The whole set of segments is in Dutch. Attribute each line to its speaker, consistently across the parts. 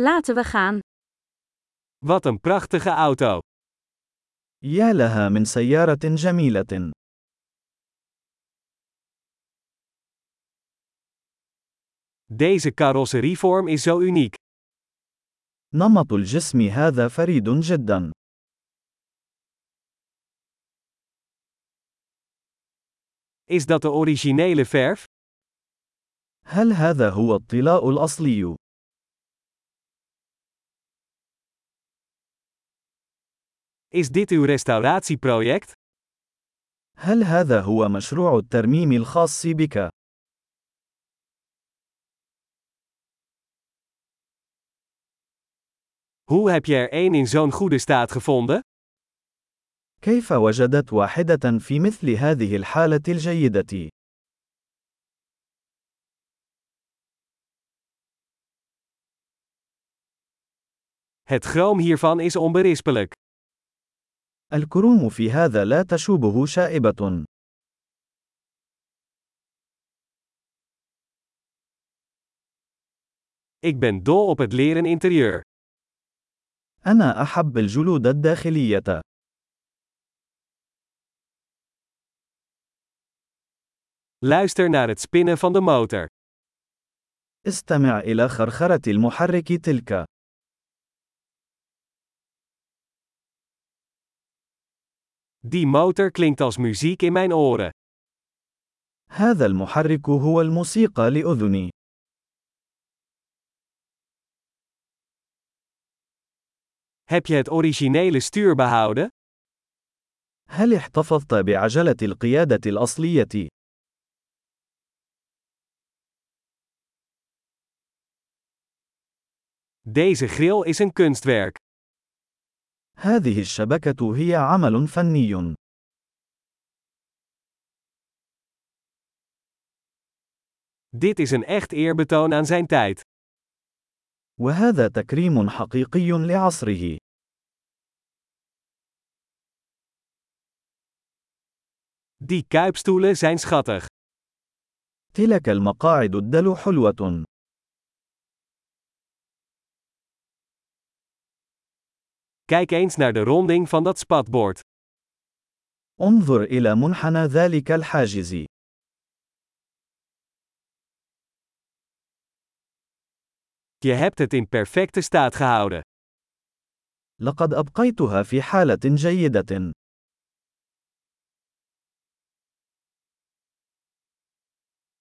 Speaker 1: Laten we gaan.
Speaker 2: Wat een prachtige auto.
Speaker 3: يا لها من سيارة جميلة.
Speaker 2: Deze carrosserievorm is zo uniek.
Speaker 3: نمط الجسم هذا فريد جدا.
Speaker 2: Is dat de originele verf?
Speaker 3: هل هذا هو الطلاء الأصلي؟
Speaker 2: Is dit uw restauratieproject?
Speaker 3: هل هذا هو مشروع الترميم الخاص بك؟
Speaker 2: Hoe heb je er één in zo'n goede staat gevonden?
Speaker 3: كيف وجدت واحدة في مثل هذه الحالة الجيدة؟
Speaker 2: Het chroom hiervan is onberispelijk.
Speaker 3: الكروم في هذا لا تشوبه شائبة.
Speaker 2: Ik ben dol op het leren interieur.
Speaker 3: أنا أحب الجلود الداخلية.
Speaker 2: Luister naar het spinnen van de motor.
Speaker 3: استمع إلى خرخرة المحرك تلك.
Speaker 2: Die motor klinkt als muziek in mijn oren.
Speaker 3: هذا المحرك هو الموسيقى لأذني.
Speaker 2: Heb je het originele stuur behouden?
Speaker 3: هل احتفظت بعجلة القيادة الأصلية؟
Speaker 2: Deze grill is een kunstwerk.
Speaker 3: هذه الشبكة هي عمل فني.
Speaker 2: Dit is een echt eerbetoon aan zijn tijd.
Speaker 3: وهذا تكريم حقيقي لعصره.
Speaker 2: Die kuipstoelen zijn schattig.
Speaker 3: تلك المقاعد الدلو حلوة.
Speaker 2: Kijk eens naar de ronding van dat spatbord.
Speaker 3: انظر إلى منحنى ذلك الحاجز.
Speaker 2: Je hebt het in perfecte staat gehouden.
Speaker 3: لقد أبقيتها في حالة جيدة.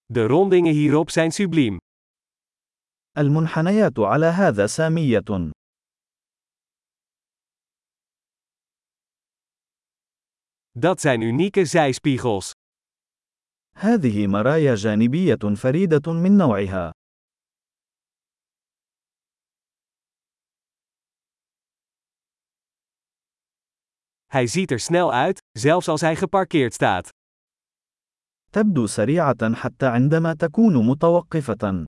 Speaker 2: De rondingen hierop zijn subliem.
Speaker 3: المنحنيات على هذا سامية.
Speaker 2: Dat zijn unieke zijspiegels.
Speaker 3: هذه مرايا جانبية فريدة من نوعها.
Speaker 2: Hij ziet er snel uit, zelfs als hij geparkeerd staat.
Speaker 3: تبدو سريعة حتى عندما تكون متوقفة.